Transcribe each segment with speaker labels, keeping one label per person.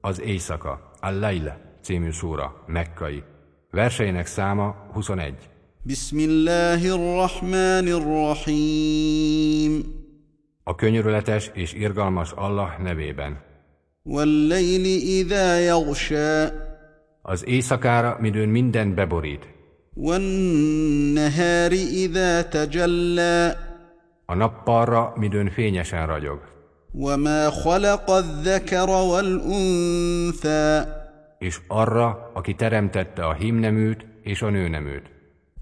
Speaker 1: Az Éjszaka, Al-Laila című szóra, mekkai. Verseinek száma 21.
Speaker 2: بسم الله الرحمن الرحيم
Speaker 1: A könyörületes és irgalmas Allah nevében.
Speaker 2: والليل إذا يغشى
Speaker 1: Az éjszakára, midőn minden beborít.
Speaker 2: والنهار إذا تجلى
Speaker 1: A nappalra, midőn fényesen ragyog.
Speaker 2: وما خلق الذكر والأنثى
Speaker 1: És arra, aki teremtette a hímneműt és a nőneműt.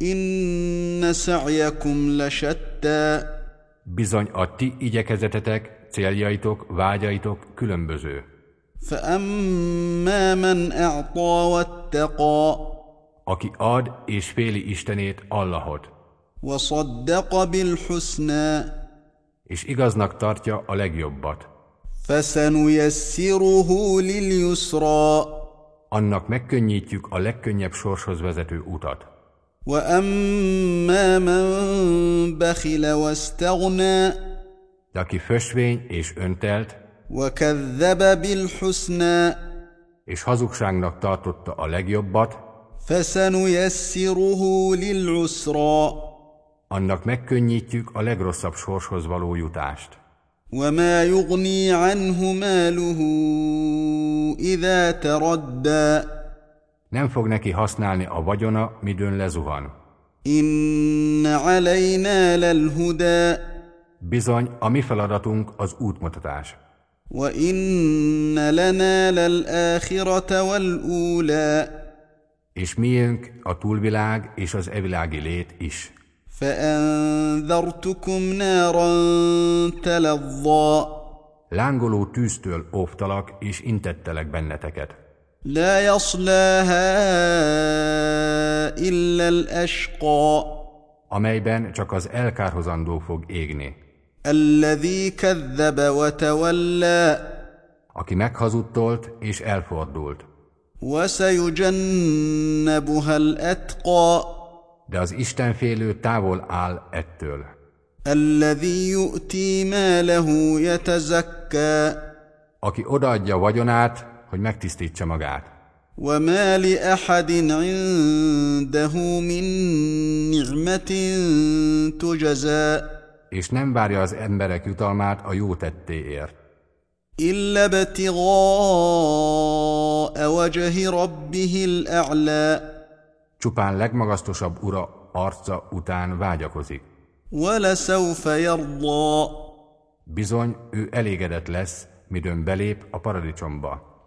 Speaker 2: إن سعيكم لشتى
Speaker 1: Bizony a ti igyekezetetek, céljaitok, vágyaitok különböző.
Speaker 2: فأما من أعطى واتقى
Speaker 1: Aki ad és féli Istenét, Allahot,
Speaker 2: وصدق بالحسنى
Speaker 1: és igaznak tartja a legjobbat.
Speaker 2: فسنيسره لليسرى
Speaker 1: Annak megkönnyítjük a legkönnyebb sorshoz vezető utat.
Speaker 2: واما من بخل واستغنى
Speaker 1: De aki fösvény és öntelt,
Speaker 2: وكذب بالحسنى
Speaker 1: és hazugságnak tartotta a legjobbat,
Speaker 2: فسنيسره للعسرى
Speaker 1: annak megkönnyítjük a legrosszabb sorshoz való jutást.
Speaker 2: وما يغني عنه ماله اذا تردى
Speaker 1: Nem fog neki használni a vagyona, midőn lezuhan.
Speaker 2: ان علينا للهدى
Speaker 1: Bizony, a mi feladatunk az útmutatás.
Speaker 2: وان لنا للاخره والاولى
Speaker 1: És miénk a túlvilág és az evilági lét is.
Speaker 2: فأنذرتكم نارا تلظى
Speaker 1: Lángoló tűztől óvtalak és intettelek benneteket.
Speaker 2: لا يصلاها إلا الأشقى
Speaker 1: amelyben csak az elkárhozandó fog égni,
Speaker 2: الذي كذب وتولى
Speaker 1: aki meghazudtolt és elfordult,
Speaker 2: وسيجنبها الأتقى
Speaker 1: de az Istenfélő távol áll ettől,
Speaker 2: الذي يؤتي ماله يتزكى
Speaker 1: aki odaadja vagyonát, hogy megtisztítsa magát.
Speaker 2: وما لأحد عنده من نعمة تجزى
Speaker 1: és nem várja az emberek jutalmát a jó tettéért,
Speaker 2: إلا ابتغاء وجه ربه الأعلى
Speaker 1: csupán legmagasztosabb ura arca után vágyakozik.
Speaker 2: ولسوف يرضى
Speaker 1: Bizony, ő elégedett lesz, midőn belép a paradicsomba.